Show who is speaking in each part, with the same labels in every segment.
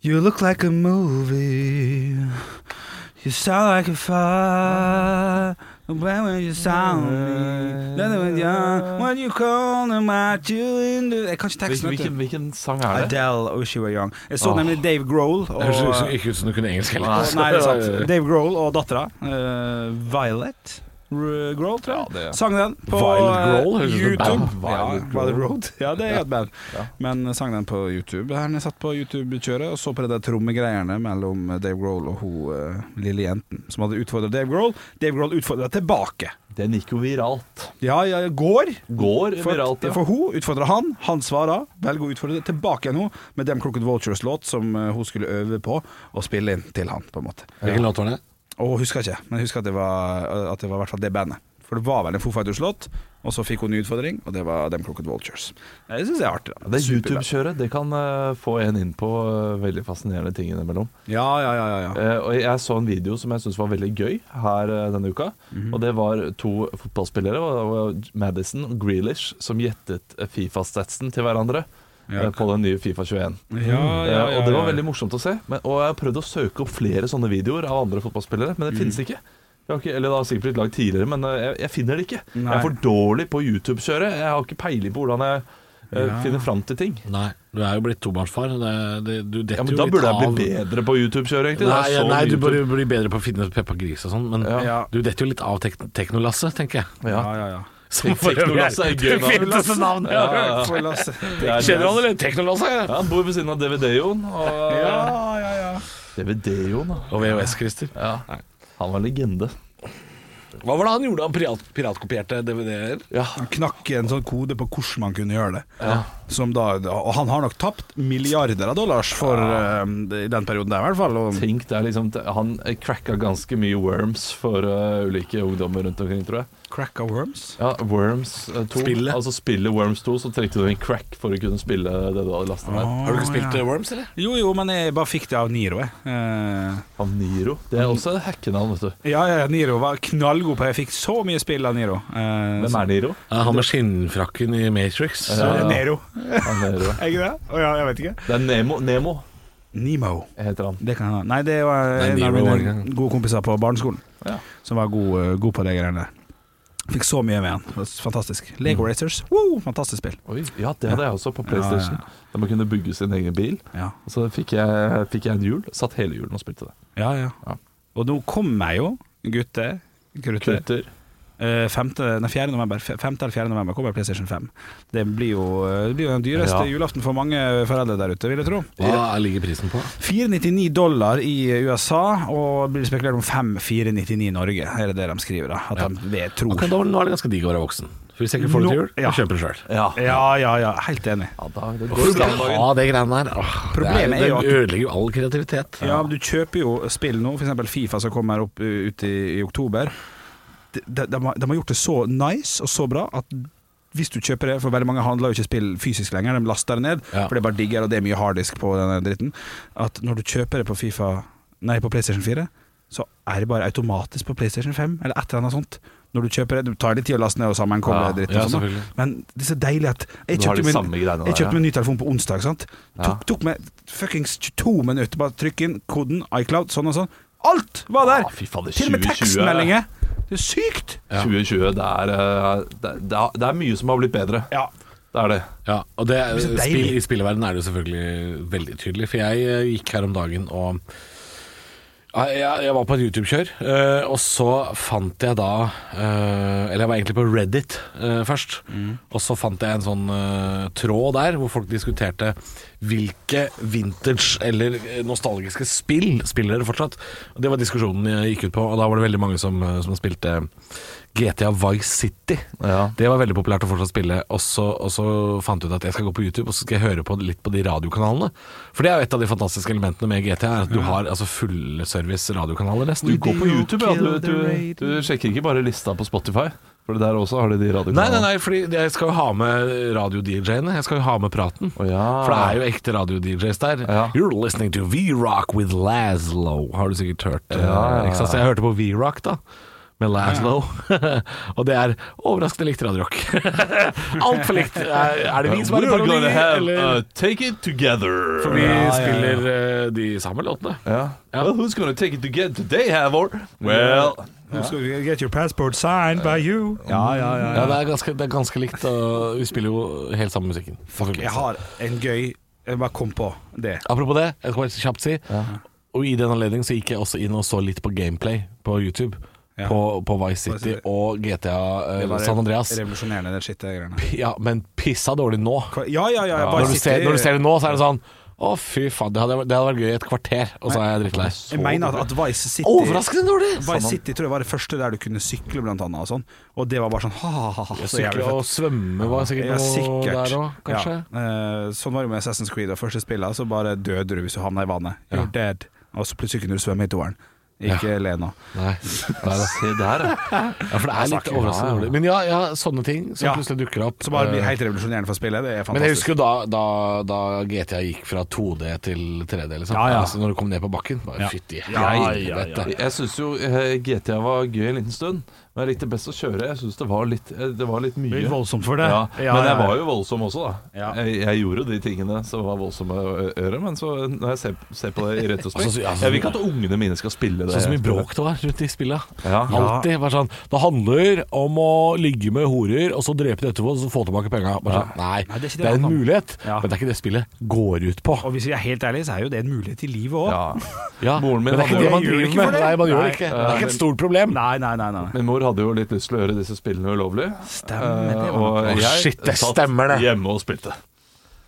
Speaker 1: You look like a movie. You sound like a fire. When will you sound me? Nothing when you're- When you call them out, you in the Jeg kan ikke teksten, vet
Speaker 2: Hvilken,
Speaker 1: du.
Speaker 2: hvilken sang er det?
Speaker 1: Adele og Wish You Were Young. Jeg så
Speaker 2: Åh.
Speaker 1: nemlig Dave Grohl og
Speaker 3: Det høres ikke ut som du kunne engelsk heller.
Speaker 1: Nei, det er sant. Dave Grohl og dattera. eh, Violet R Grohl, tror jeg.
Speaker 2: det-
Speaker 1: Sang den på
Speaker 3: Violet
Speaker 1: eh,
Speaker 3: Grohl, høres det ut som et
Speaker 1: YouTube.
Speaker 3: band.
Speaker 1: Ja,
Speaker 2: Violet
Speaker 1: Violet
Speaker 2: Grohl.
Speaker 1: Road. Ja, det er et band.
Speaker 2: Ja.
Speaker 1: Men eh, sang den på YouTube. Her når jeg satt på YouTube-kjøret og så på det der trommegreiene mellom Dave Grohl og hun eh, lille jenten som hadde utfordra Dave Grohl. Dave Grohl utfordra tilbake.
Speaker 2: Den gikk jo viralt.
Speaker 1: Ja, ja, ja, går.
Speaker 2: Går
Speaker 1: For,
Speaker 2: viralt, ja.
Speaker 1: for hun utfordra han, han svara. Velger å utfordre tilbake igjen hun med Dem Crooked Vultures-låt som eh, hun skulle øve på og spille inn til han, på en måte.
Speaker 3: Hvilken låt var det?
Speaker 1: Og hun husker ikke, men jeg husker at det var At det var i hvert fall det bandet. For det var vel en Foo Fighters-låt, og så fikk hun en ny utfordring, og det var Dem Crooked Vultures. Det syns jeg er artig. da
Speaker 2: Det
Speaker 1: Superband.
Speaker 2: YouTube-kjøret det kan eh, få en inn på eh, veldig fascinerende ting innimellom.
Speaker 1: Ja, ja, ja. ja, ja.
Speaker 2: Eh, og jeg så en video som jeg syntes var veldig gøy her eh, denne uka. Og det var to fotballspillere, og det var Madison og Grealish, som gjettet eh, Fifa-statsen til hverandre
Speaker 1: Ja.
Speaker 2: eh, på den nye Fifa 21.
Speaker 1: ja, ja,
Speaker 2: Eh,
Speaker 1: ja,
Speaker 2: og det
Speaker 1: ja.
Speaker 2: var veldig morsomt å se. Men, og jeg har prøvd å søke opp flere sånne videoer av andre fotballspillere, men det
Speaker 1: Mm.
Speaker 2: finnes ikke. Jeg har ikke. Eller det har sikkert blitt lagd tidligere, men eh, jeg, jeg finner det ikke.
Speaker 1: Nei.
Speaker 2: Jeg er for dårlig på YouTube-kjøret. Jeg har ikke peiling på hvordan jeg eh,
Speaker 1: Ja.
Speaker 2: finner fram til ting.
Speaker 3: Nei, du er jo blitt tobarnsfar. Det, det, du detter
Speaker 2: Ja, men
Speaker 3: jo
Speaker 2: Da
Speaker 3: litt
Speaker 2: burde jeg
Speaker 3: av-
Speaker 2: bli bedre på YouTube-kjøret, egentlig.
Speaker 3: Nei,
Speaker 2: Det er så mye
Speaker 3: nei du
Speaker 2: YouTube.
Speaker 3: bør jo bli bedre på å finne Peppa Gris og sånn, men
Speaker 1: Ja.
Speaker 3: du detter jo litt av tek teknolasset, tenker jeg.
Speaker 2: Ja.
Speaker 1: ja, ja, ja.
Speaker 3: Som
Speaker 2: Tek- Teknolasset er gøy
Speaker 3: det
Speaker 2: navn.
Speaker 3: finteste navnet jeg
Speaker 2: Ja,
Speaker 3: har
Speaker 2: ja,
Speaker 3: hørt.
Speaker 2: ja.
Speaker 1: Får jeg lasse.
Speaker 2: Det er-
Speaker 3: Kjenner du han, eller? Teknolasset?
Speaker 2: Ja, han bor ved siden av DVD-Jon. Og
Speaker 1: Ja, ja, ja.
Speaker 2: DVD-Jon, da.
Speaker 3: Og VHS-Christer.
Speaker 2: Ja. Han var legende.
Speaker 3: Hva var det han gjorde? Han pirat, piratkopierte DVD-er?
Speaker 2: Ja.
Speaker 1: Han knakk en sånn kode på hvordan man kunne gjøre det.
Speaker 2: Ja.
Speaker 1: Som da, og han har nok tapt milliarder av dollars for, eh, i den perioden der, i hvert fall. Og,
Speaker 2: Tenk, det er liksom Han cracka ganske mye worms for eh, ulike ungdommer rundt omkring, tror jeg.
Speaker 1: crack of worms?
Speaker 2: Ja, Worms eh, 2.
Speaker 3: Spillet.
Speaker 2: Altså spillet Worms 2, så trengte du en crack for å kunne spille det du hadde lasta ned.
Speaker 3: Har du ikke
Speaker 1: Å,
Speaker 3: spilt
Speaker 1: ja.
Speaker 3: eh, Worms, eller?
Speaker 1: Jo, jo, men jeg bare fikk det av Niro, jeg. Eh,
Speaker 2: Av Niro. Det er også et hackenavn, vet du.
Speaker 1: Ja, ja, Niro var knallgod på Jeg fikk så mye spill av Niro. Eh,
Speaker 2: Hvem er Niro?
Speaker 3: Ja, han med skinnfrakken i Matrix.
Speaker 1: så-
Speaker 2: Ja.
Speaker 1: så er det Nero,
Speaker 2: Han er Niro.
Speaker 1: er ikke det? Å ja, jeg vet ikke.
Speaker 2: Det er Nemo. Nemo
Speaker 1: Nemo.
Speaker 2: heter han.
Speaker 1: Det kan jeg ha. Nei, det var
Speaker 3: Nei,
Speaker 1: en av
Speaker 3: Nero var
Speaker 1: mine
Speaker 3: det.
Speaker 1: gode kompiser på barneskolen
Speaker 2: Ja.
Speaker 1: som var god, eh, god på de greiene der. Fikk så mye med han. Det var Fantastisk. Lego
Speaker 2: Mm.
Speaker 1: Racers, Woo, fantastisk spill.
Speaker 2: Oi, ja, det hadde jeg også på PlayStation.
Speaker 1: Ja,
Speaker 2: Der man kunne bygge sin egen bil.
Speaker 1: Ja,
Speaker 2: Og så fikk jeg, fikk jeg en hjul. Satt hele julen og spilte det.
Speaker 1: ja. ja.
Speaker 2: Ja.
Speaker 1: Og nå kommer jo gutter Krutter.
Speaker 2: Klutter.
Speaker 1: Eh, femte- nei, 4. november, Fe- femte eller 4. november kommer PlayStation 5. Det blir jo, eh, det blir jo den dyreste
Speaker 2: Ja.
Speaker 1: julaften for mange foreldre der ute, vil jeg tro.
Speaker 3: Hva ligger prisen på?
Speaker 1: 499 dollar i USA, og blir det spekulert om 5499 i Norge, er det det de skriver. da At de vet, tror.
Speaker 3: Ok, da, nå er det ganske digg å være voksen. For Hvis jeg ikke får det til jul,
Speaker 1: Nå- ja.
Speaker 3: jeg kjøper det sjøl.
Speaker 2: Ja.
Speaker 1: Ja, ja, ja, helt enig.
Speaker 2: Ja, da, det går
Speaker 3: Hvorfor
Speaker 2: jo bra om
Speaker 3: skal jeg
Speaker 2: dagen.
Speaker 3: ha det greiene der? Åh,
Speaker 1: Problemet
Speaker 3: det
Speaker 1: er jo
Speaker 3: det
Speaker 1: at-
Speaker 3: ødelegger jo all kreativitet.
Speaker 1: Ja, men Du kjøper jo spill nå, f.eks. Fifa som kommer opp uh, ut i, i oktober. De, de, de, har, de har gjort det så nice og så bra at hvis du kjøper det For veldig mange handler jo ikke spill fysisk lenger, de laster det ned.
Speaker 3: Ja.
Speaker 1: For det er bare digger, og det er mye harddisk på den dritten. At når du kjøper det på Fifa Nei, på PlayStation 4, så er det bare automatisk på PlayStation 5, eller et eller annet sånt. Når du kjøper det, du tar litt tid å laste ned og sammenkoble
Speaker 2: Ja,
Speaker 1: dritt
Speaker 3: ja,
Speaker 1: og sånn.
Speaker 3: selvfølgelig.
Speaker 1: Men det er så deilig at Jeg
Speaker 2: Du har
Speaker 1: kjøpte
Speaker 2: de
Speaker 1: min-
Speaker 2: samme greiene
Speaker 1: jeg
Speaker 2: der,
Speaker 1: kjøpte
Speaker 2: ja.
Speaker 1: meg ny telefon på onsdag. sant?
Speaker 2: Ja.
Speaker 1: Tok, tok meg fuckings 22 minutter Bare trykk inn koden iCloud, sånn og sånn. Alt var der!
Speaker 2: Ah, fy fader,
Speaker 1: Til og med
Speaker 2: 2020.
Speaker 1: tekstmeldinger! Det er sykt!
Speaker 3: Ja.
Speaker 2: 2020, det er, eh, det, er- det er- det er mye som har blitt bedre.
Speaker 1: Ja.
Speaker 2: Det er det.
Speaker 3: Ja, og det,
Speaker 1: så deilig.
Speaker 3: spill, I spillverden er det jo selvfølgelig veldig tydelig. For jeg eh, gikk her om dagen og Ja, jeg, jeg var på et YouTube-kjør, eh, og så fant jeg da eh, Eller jeg var egentlig på Reddit eh, først. Og så fant jeg en sånn eh, tråd der hvor folk diskuterte hvilke vintage eller eh, nostalgiske spill spiller dere fortsatt. Og Det var diskusjonen jeg gikk ut på, og da var det veldig mange som, eh, som spilte GTA Vice City.
Speaker 2: Ja.
Speaker 3: Det var veldig populært å fortsatt spille. Og så, og så fant jeg ut at jeg skal gå på YouTube og så skal jeg høre på litt på de radiokanalene. For det er jo et av de fantastiske elementene med GT, er at du har altså, fullservice radiokanaler nesten.
Speaker 2: Du går på YouTube, ja. Du, du, du sjekker ikke bare lista på Spotify, for der også har de de radiokanalene.
Speaker 3: Nei, nei, nei, fordi jeg skal jo ha med radio-DJ-ene. Jeg skal jo ha med praten.
Speaker 2: Å, ja.
Speaker 3: For det er jo ekte radio-DJs der.
Speaker 2: Ah. Ja.
Speaker 3: You're listening to V-Rock with Laszlo, har du sikkert hørt.
Speaker 2: Ja,
Speaker 3: eh,
Speaker 2: ja, ja.
Speaker 3: Ikke sant? Så jeg hørte på V-Rock, da. med Laszlo. og det er overraskende likt radiorock. Altfor likt. Er, er det vi som er i
Speaker 2: Uh, We're gonna
Speaker 3: parodi,
Speaker 2: have
Speaker 3: eller?
Speaker 2: uh, Take it together.
Speaker 3: For vi
Speaker 2: ja.
Speaker 3: spiller eh, de samme låtene. Ja.
Speaker 2: Well, who's gonna take it together today, Havor? Well
Speaker 1: Who's gonna get your passport signed by you? Ja, ja, ja.
Speaker 3: Ja, det er ganske, det er ganske likt, og vi spiller jo helt samme musikken.
Speaker 1: Jeg har en gøy Jeg bare kom på det.
Speaker 3: Apropos det, jeg skal bare kjapt si Og i den anledning så gikk jeg også inn og så litt på gameplay på YouTube.
Speaker 1: Ja.
Speaker 3: På, på Vice City
Speaker 1: Vice City.
Speaker 3: og GTA eh,
Speaker 1: Det var
Speaker 3: San Andreas.
Speaker 1: Revolusjonerende, det skittet greiene.
Speaker 3: Ja, men pissa dårlig nå.
Speaker 1: Ja, ja, ja.
Speaker 3: Når du, ser, når du ser det nå, så er det sånn Å, fy faen, det hadde, det hadde vært gøy i et kvarter, og så er jeg drittlei.
Speaker 1: Jeg mener at, at Vice City
Speaker 3: Overraskende dårlig!
Speaker 1: Vice City tror jeg var det første der du kunne sykle, blant annet. Og, sånn. og det var bare sånn ha-ha-ha. Så jævlig
Speaker 3: Sykle
Speaker 1: fett.
Speaker 3: og svømme var sikkert
Speaker 1: Ja,
Speaker 3: noe
Speaker 1: sikkert.
Speaker 3: der òg, kanskje.
Speaker 1: Ja. Eh, sånn var det med Assassin's Creed og første spillet. Så bare døde du hvis du havna i vannet. You're dead. Og så plutselig kunne du svømme i toeren. Ikke le nå.
Speaker 3: Nei. Nei da.
Speaker 2: Se der, ja.
Speaker 3: Ja, for det er litt
Speaker 1: snakker vi.
Speaker 3: overraskende dårlig. Men ja, ja, sånne ting som
Speaker 1: Ja.
Speaker 3: plutselig dukker opp.
Speaker 1: Så bare blir
Speaker 3: eh,
Speaker 1: helt revolusjonerende for spillet. Det er
Speaker 3: Men jeg
Speaker 1: fantastisk.
Speaker 3: husker jo da, da, da GTA gikk fra 2D til 3D, liksom.
Speaker 1: Ja, ja.
Speaker 3: Altså, når du kom ned på bakken. Bare,
Speaker 1: Ja.
Speaker 3: Fytti
Speaker 1: Ja,
Speaker 3: helvete.
Speaker 1: ja, ja.
Speaker 2: Jeg syns jo eh, GTA var gøy en liten stund, men jeg likte best å kjøre. Jeg syns det var litt, eh, det var litt mye.
Speaker 1: Litt voldsomt for det.
Speaker 2: Ja,
Speaker 1: Ja,
Speaker 2: men
Speaker 1: ja,
Speaker 2: jeg
Speaker 1: ja.
Speaker 2: var jo voldsom også, da.
Speaker 1: Ja.
Speaker 2: Jeg, jeg gjorde jo de tingene som var voldsomme å å gjøre, men så når jeg ser, ser på det i retrospekt
Speaker 3: Altså, så-
Speaker 2: Jeg
Speaker 3: altså,
Speaker 2: vil ikke at ungene mine skal spille det.
Speaker 3: Sånn så mye bråk det var rundt de spilla.
Speaker 2: Ja.
Speaker 3: Alltid. Bare sånn Det handler om å ligge med horer, og så drepe det etterpå, og så få tilbake penga. Bare sånn,
Speaker 1: Nei,
Speaker 3: nei,
Speaker 1: det er
Speaker 3: det
Speaker 1: ikke det det
Speaker 3: er, en
Speaker 1: handler om.
Speaker 3: mulighet,
Speaker 1: Ja.
Speaker 3: men det er ikke det spillet går ut på.
Speaker 1: Og hvis vi er helt ærlige, så er jo det en mulighet i livet òg.
Speaker 2: Ja.
Speaker 3: Ja,
Speaker 2: Moren min
Speaker 3: men det er
Speaker 2: hadde
Speaker 3: ikke det
Speaker 2: jo-
Speaker 3: man
Speaker 1: Jeg gjør
Speaker 3: driver
Speaker 1: ikke for
Speaker 3: med.
Speaker 1: det.
Speaker 3: Nei, man gjør det
Speaker 1: Nei.
Speaker 3: ikke. Det er ikke et stort problem.
Speaker 1: Nei, nei, nei. nei.
Speaker 2: Min mor hadde jo litt lyst til å gjøre disse spillene ulovlige.
Speaker 1: Stemmer, det
Speaker 2: eh,
Speaker 1: var
Speaker 2: og
Speaker 3: noe. Å,
Speaker 2: jeg
Speaker 3: shit, det
Speaker 2: satt
Speaker 3: stemmer det.
Speaker 2: hjemme og spilte.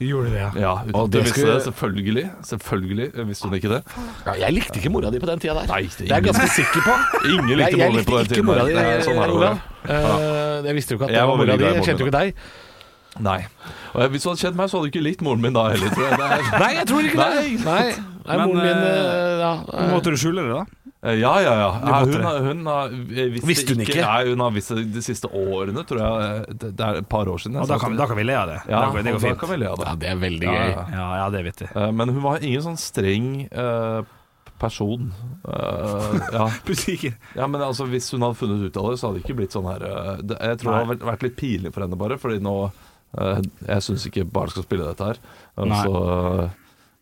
Speaker 1: Gjorde det,
Speaker 2: Ja, uten
Speaker 3: Og
Speaker 2: at du
Speaker 3: det
Speaker 2: visste
Speaker 3: skulle-
Speaker 2: det, selvfølgelig. Selvfølgelig visste hun ikke det.
Speaker 3: Ja, jeg likte ikke mora di på den tida der.
Speaker 2: Nei, det
Speaker 3: det er jeg ganske sikker på.
Speaker 2: Ingen likte
Speaker 3: jeg, jeg
Speaker 2: mora di på den
Speaker 3: likte ikke
Speaker 2: tiden
Speaker 3: mora
Speaker 2: der.
Speaker 3: di,
Speaker 2: Det er sånn her det var, ja.
Speaker 3: Olav. Eh, jeg visste jo ikke at det
Speaker 2: Jeg var
Speaker 3: var mora
Speaker 2: veldig
Speaker 3: di.
Speaker 2: glad i
Speaker 3: Jeg
Speaker 2: moren
Speaker 3: kjente jo ikke deg.
Speaker 2: Nei. Og jeg- hvis du hadde kjent meg, så hadde du ikke likt moren min da heller, tror jeg. Det er-
Speaker 3: Nei, jeg tror ikke det.
Speaker 2: Nei.
Speaker 3: Nei, nei
Speaker 1: Men,
Speaker 3: moren min
Speaker 1: eh,
Speaker 3: eh, ja, eh,
Speaker 1: Måtte du skjule det, da?
Speaker 2: Eh, Ja, ja, ja. ja
Speaker 3: måtte
Speaker 2: hun,
Speaker 3: det.
Speaker 2: har- hun har visste,
Speaker 3: Visste hun ikke?
Speaker 2: Nei, hun har visst det de siste årene, tror jeg. Eh, Det, det er et par år siden. jeg
Speaker 1: Og da
Speaker 2: sa
Speaker 1: kan,
Speaker 2: til-
Speaker 1: da kan vi le av det.
Speaker 2: ja,
Speaker 1: Da- det går
Speaker 2: og da
Speaker 1: fint.
Speaker 2: kan vi le av
Speaker 3: ja,
Speaker 2: det.
Speaker 3: det er veldig
Speaker 2: Ja,
Speaker 3: gøy.
Speaker 2: ja.
Speaker 1: Ja, ja, det vet jeg.
Speaker 2: Eh, Men hun var ingen sånn streng eh, person. Eh, ja.
Speaker 1: Butikken.
Speaker 2: ja, men altså Hvis hun hadde funnet ut av det, så hadde det ikke blitt sånn her eh, det, Jeg tror det hadde vært- vært litt pinlig for henne, bare. Fordi nå eh, Jeg syns ikke barn skal spille dette her. Og
Speaker 1: Nei.
Speaker 2: så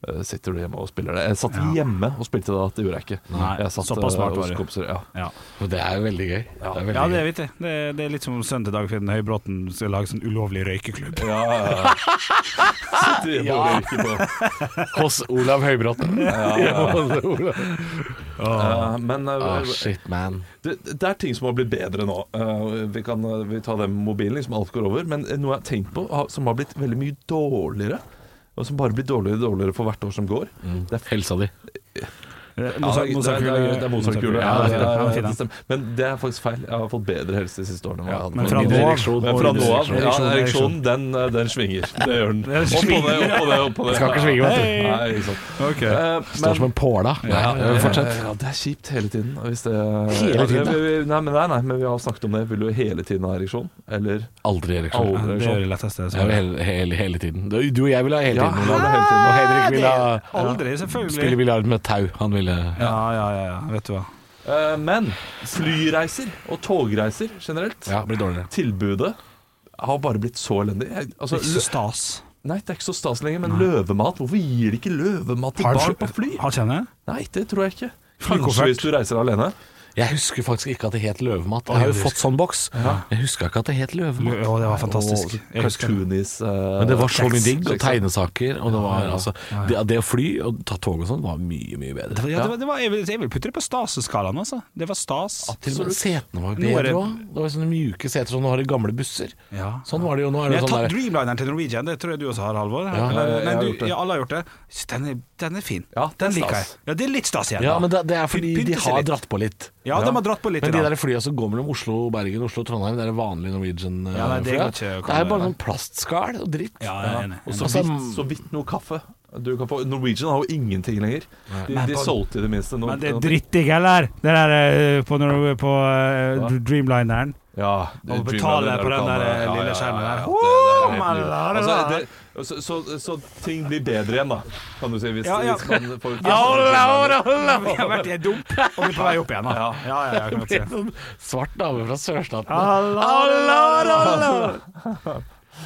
Speaker 2: eh, sitter du hjemme og spiller det. Jeg satt
Speaker 1: Ja.
Speaker 2: hjemme og spilte det, det gjorde jeg ikke.
Speaker 1: Nei,
Speaker 2: jeg satt
Speaker 1: såpass smart
Speaker 2: eh,
Speaker 1: var
Speaker 2: hos
Speaker 1: du.
Speaker 2: kompiser. Ja.
Speaker 1: Ja.
Speaker 3: Og Det er jo veldig gøy. Det er veldig
Speaker 1: Ja, det
Speaker 3: gøy.
Speaker 1: vet jeg. Det, det er litt som om sønnen til Dagfinn Høybråten skal lage sånn ulovlig røykeklubb.
Speaker 2: Ja, ja, ja. Sitter hjemme og
Speaker 3: Ja.
Speaker 2: røyker på.
Speaker 3: Hos Olav Høybråten. Hos Olav.
Speaker 2: Eh, men eh,
Speaker 3: Ah, shit, man.
Speaker 2: det, det er ting som har blitt bedre nå. Eh, vi kan eh, vi tar det med mobilen, liksom alt går over. Men eh, noe jeg har tenkt på har- som har blitt veldig mye dårligere, og som bare blir dårligere og dårligere for hvert år som går
Speaker 3: Mm.
Speaker 2: Det er
Speaker 3: Helsa di.
Speaker 2: Mozart- Mozartkule.
Speaker 1: Mozartkule.
Speaker 2: Det er Mozartkule, ja,
Speaker 1: Ja, det er fint,
Speaker 2: det
Speaker 1: det er fint,
Speaker 2: stemmer. Men det er faktisk feil. Jeg har fått bedre helse de siste årene. enn jeg hadde.
Speaker 1: men
Speaker 2: Men
Speaker 1: fra
Speaker 2: min
Speaker 1: nå av-
Speaker 2: ereksjon- men fra nå av ja,
Speaker 1: Ereksjon,
Speaker 2: Ereksjonen, den, eh, den svinger. Det gjør den.
Speaker 1: Den
Speaker 2: Opp på det, opp på det, opp på det.
Speaker 3: Skal ikke svinge, vet du.
Speaker 2: Nei, ikke sant.
Speaker 1: Ok.
Speaker 2: Eh, men-
Speaker 3: Står som en påla. Nei,
Speaker 2: Ja,
Speaker 3: eh, fortsett.
Speaker 2: Ja, det er kjipt hele tiden. Hvis det,
Speaker 3: Hele tiden,
Speaker 2: Ja, vi- vi- nei, men, nei, nei, men vi har snakket om det. Vil du hele tiden ha ereksjon? Eller
Speaker 3: Aldri ereksjon.
Speaker 1: Ja, Det er det letteste.
Speaker 3: Jeg vil
Speaker 1: svaret.
Speaker 3: hele, hele, hele tiden. Du du og jeg vil ha hele
Speaker 2: Ja,
Speaker 3: tiden.
Speaker 2: ja,
Speaker 3: Olav.
Speaker 2: det er hele tiden.
Speaker 3: Og Henrik vil ha
Speaker 1: Aldri,
Speaker 3: spille
Speaker 1: selvfølgelig.
Speaker 3: biljard med tau. Han ville
Speaker 1: Ja, ja, ja, ja. Vet du hva.
Speaker 2: Eh, Men flyreiser og togreiser generelt,
Speaker 3: ja, bli dårligere.
Speaker 2: tilbudet har bare blitt så elendig. Jeg, altså,
Speaker 1: Ikke
Speaker 2: lø
Speaker 1: så stas.
Speaker 2: nei, det er ikke så stas lenger, men løvemat Hvorfor gir de ikke løvemat til barn på fly?
Speaker 1: Har kjenne?
Speaker 2: Nei, det tror jeg ikke.
Speaker 1: Flykoffert.
Speaker 2: Kanskje hvis du reiser alene.
Speaker 3: Jeg husker faktisk ikke at det het løvemat. Jeg har jo fått sånn boks. Jeg huska ikke at det het løvemat.
Speaker 1: Å, det var fantastisk. Jeg husker det.
Speaker 2: Cartoonies
Speaker 3: Men det var så mye digg, og tegnesaker, og det var altså Det, det å fly og ta tog og sånn var mye, mye bedre.
Speaker 1: Ja, det var, det var, jeg, vil, jeg vil putte det på staseskalaen, altså. Det var stas.
Speaker 3: Til og med setene
Speaker 1: Nå
Speaker 3: var
Speaker 1: er
Speaker 3: bedre
Speaker 1: det-
Speaker 3: òg. Det var sånne mjuke seter som du har i gamle busser.
Speaker 1: Ja.
Speaker 3: Sånn var det jo nå.
Speaker 1: Men
Speaker 3: Er
Speaker 1: jeg
Speaker 3: det
Speaker 1: har
Speaker 3: sånn
Speaker 1: tatt
Speaker 3: der,
Speaker 1: Dreamlineren til Norwegian, det tror jeg du også har, Halvor.
Speaker 3: Ja,
Speaker 1: Eller-
Speaker 2: jeg- jeg har
Speaker 1: Nei,
Speaker 2: gjort
Speaker 1: du,
Speaker 2: det.
Speaker 1: ja, alle har gjort det. Så Den er, den er fin.
Speaker 2: Ja, det er
Speaker 1: den liker jeg.
Speaker 2: stas.
Speaker 1: Ja, det er litt stas igjen.
Speaker 3: ja,
Speaker 1: da.
Speaker 3: men det, det er fordi
Speaker 1: Pynte
Speaker 3: de
Speaker 1: seg
Speaker 3: har
Speaker 1: litt.
Speaker 3: dratt på litt.
Speaker 1: Ja, de har dratt på litt.
Speaker 3: Men de
Speaker 1: i dag.
Speaker 3: der flya som går mellom Oslo, Bergen, Oslo, Trondheim, det er vanlige Norwegian-flya
Speaker 1: Ja, nei, det går ikke å
Speaker 3: Det er
Speaker 1: komme-
Speaker 3: bare sånn plastskall og dritt.
Speaker 1: Ja, jeg er enig. Jeg
Speaker 2: Og så
Speaker 1: er enig.
Speaker 2: vidt, så vidt noe kaffe. Du kan få, Norwegian har jo ingenting lenger. De,
Speaker 1: Men
Speaker 2: de
Speaker 1: på-
Speaker 2: solgte i det minste. noe-
Speaker 1: Men det er drittdigg, eller? Det der eh, på, når- på eh,
Speaker 2: Hva?
Speaker 1: Dreamlineren.
Speaker 2: Ja,
Speaker 1: Å
Speaker 2: Dreamliner
Speaker 1: betale
Speaker 2: er
Speaker 1: på den
Speaker 2: lokale.
Speaker 1: der eh,
Speaker 2: Ja,
Speaker 1: lille
Speaker 2: ja,
Speaker 1: skjermen
Speaker 2: ja,
Speaker 1: der.
Speaker 2: ja, det- det
Speaker 1: la,
Speaker 2: er helt
Speaker 1: la,
Speaker 2: nydelig.
Speaker 1: la.
Speaker 2: Altså, det, så, så, så ting blir bedre igjen, da, kan du si. Hvis,
Speaker 1: Ja, ja.
Speaker 2: hvis man får
Speaker 1: Vi har vært i et dump, og vi er på vei opp igjen nå. Ja, ja, ja, jeg kan godt se.
Speaker 3: Sånn svart dame fra sørstaten.
Speaker 1: Allah, Allah, Allah.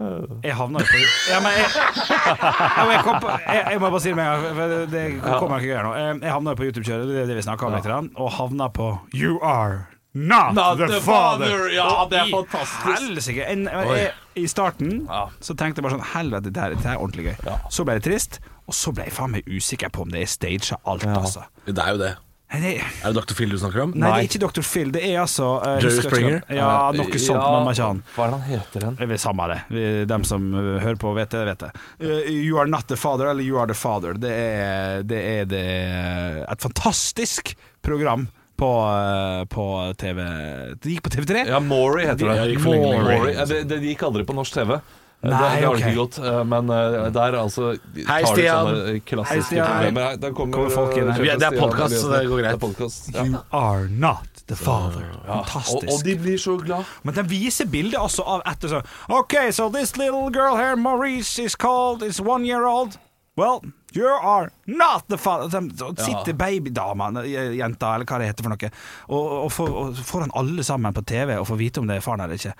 Speaker 1: Jeg havna jo på ja, men jeg, ja, men jeg, kom på, jeg, jeg må bare si det med en gang, for det, det kommer ikke greier nå. Eh, Jeg havna jo på YouTube-kjøret, det er det vi snakka om litt, grann, og havna på You are not, the, father.
Speaker 2: Ja, det
Speaker 1: I
Speaker 2: er fantastisk.
Speaker 1: Helsike. En-
Speaker 2: Oi.
Speaker 1: jeg- I starten
Speaker 2: Ja.
Speaker 1: så tenkte jeg bare sånn Helvete, det her, det her er ordentlig gøy.
Speaker 2: Ja.
Speaker 1: Så ble det trist, og så ble jeg faen meg usikker på om det er staged alt, altså.
Speaker 3: Det er jo det.
Speaker 1: Nei, det,
Speaker 3: Er det Dr. Phil du snakker om?
Speaker 1: Nei,
Speaker 2: Nei.
Speaker 1: det er ikke Dr. Phil. Det er altså eh,
Speaker 3: Jerry
Speaker 1: husker jeg
Speaker 3: Springer?
Speaker 1: ikke. Ja, noe sånt.
Speaker 2: Ja,
Speaker 1: men man ikke han.
Speaker 2: Hva er det han heter igjen?
Speaker 1: Det er vel Samme det. Vi- Dem som eh, hører på, vet det. vet det Eh, You are not the father, eller You are the father. Det er det, er det eh, et fantastisk program på, eh, på TV Det gikk på TV3.
Speaker 2: Ja, Maury heter det.
Speaker 3: Ja, det gikk for lenge, lenge.
Speaker 2: Maury. Ja, det, det gikk aldri på norsk TV.
Speaker 1: Nei,
Speaker 2: det, det har
Speaker 1: ok.
Speaker 2: det ikke gått, eh, men eh, der altså
Speaker 3: Hei,
Speaker 2: tar de
Speaker 3: Stian.
Speaker 2: sånne
Speaker 1: Hei,
Speaker 2: klassiske
Speaker 1: Stian.
Speaker 2: problemer. Hei, Der kommer,
Speaker 1: Kommer folk inn her.
Speaker 2: eh,
Speaker 3: Vi er- det er
Speaker 2: Stian
Speaker 3: podcast, så det går greit.
Speaker 2: Det er podcast, ja.
Speaker 1: You are not the father.
Speaker 2: og,
Speaker 1: Fantastisk.
Speaker 2: og de blir så glad.
Speaker 1: Men den viser bildet altså av etter sånn OK, so this little girl here, Maurice, is called, is one year old. Well, you are not the father De, de sitter babydama, eh, jenta, eller hva det heter for noe, og, og, får, og får han alle sammen på TV og får vite om det er faren eller ikke.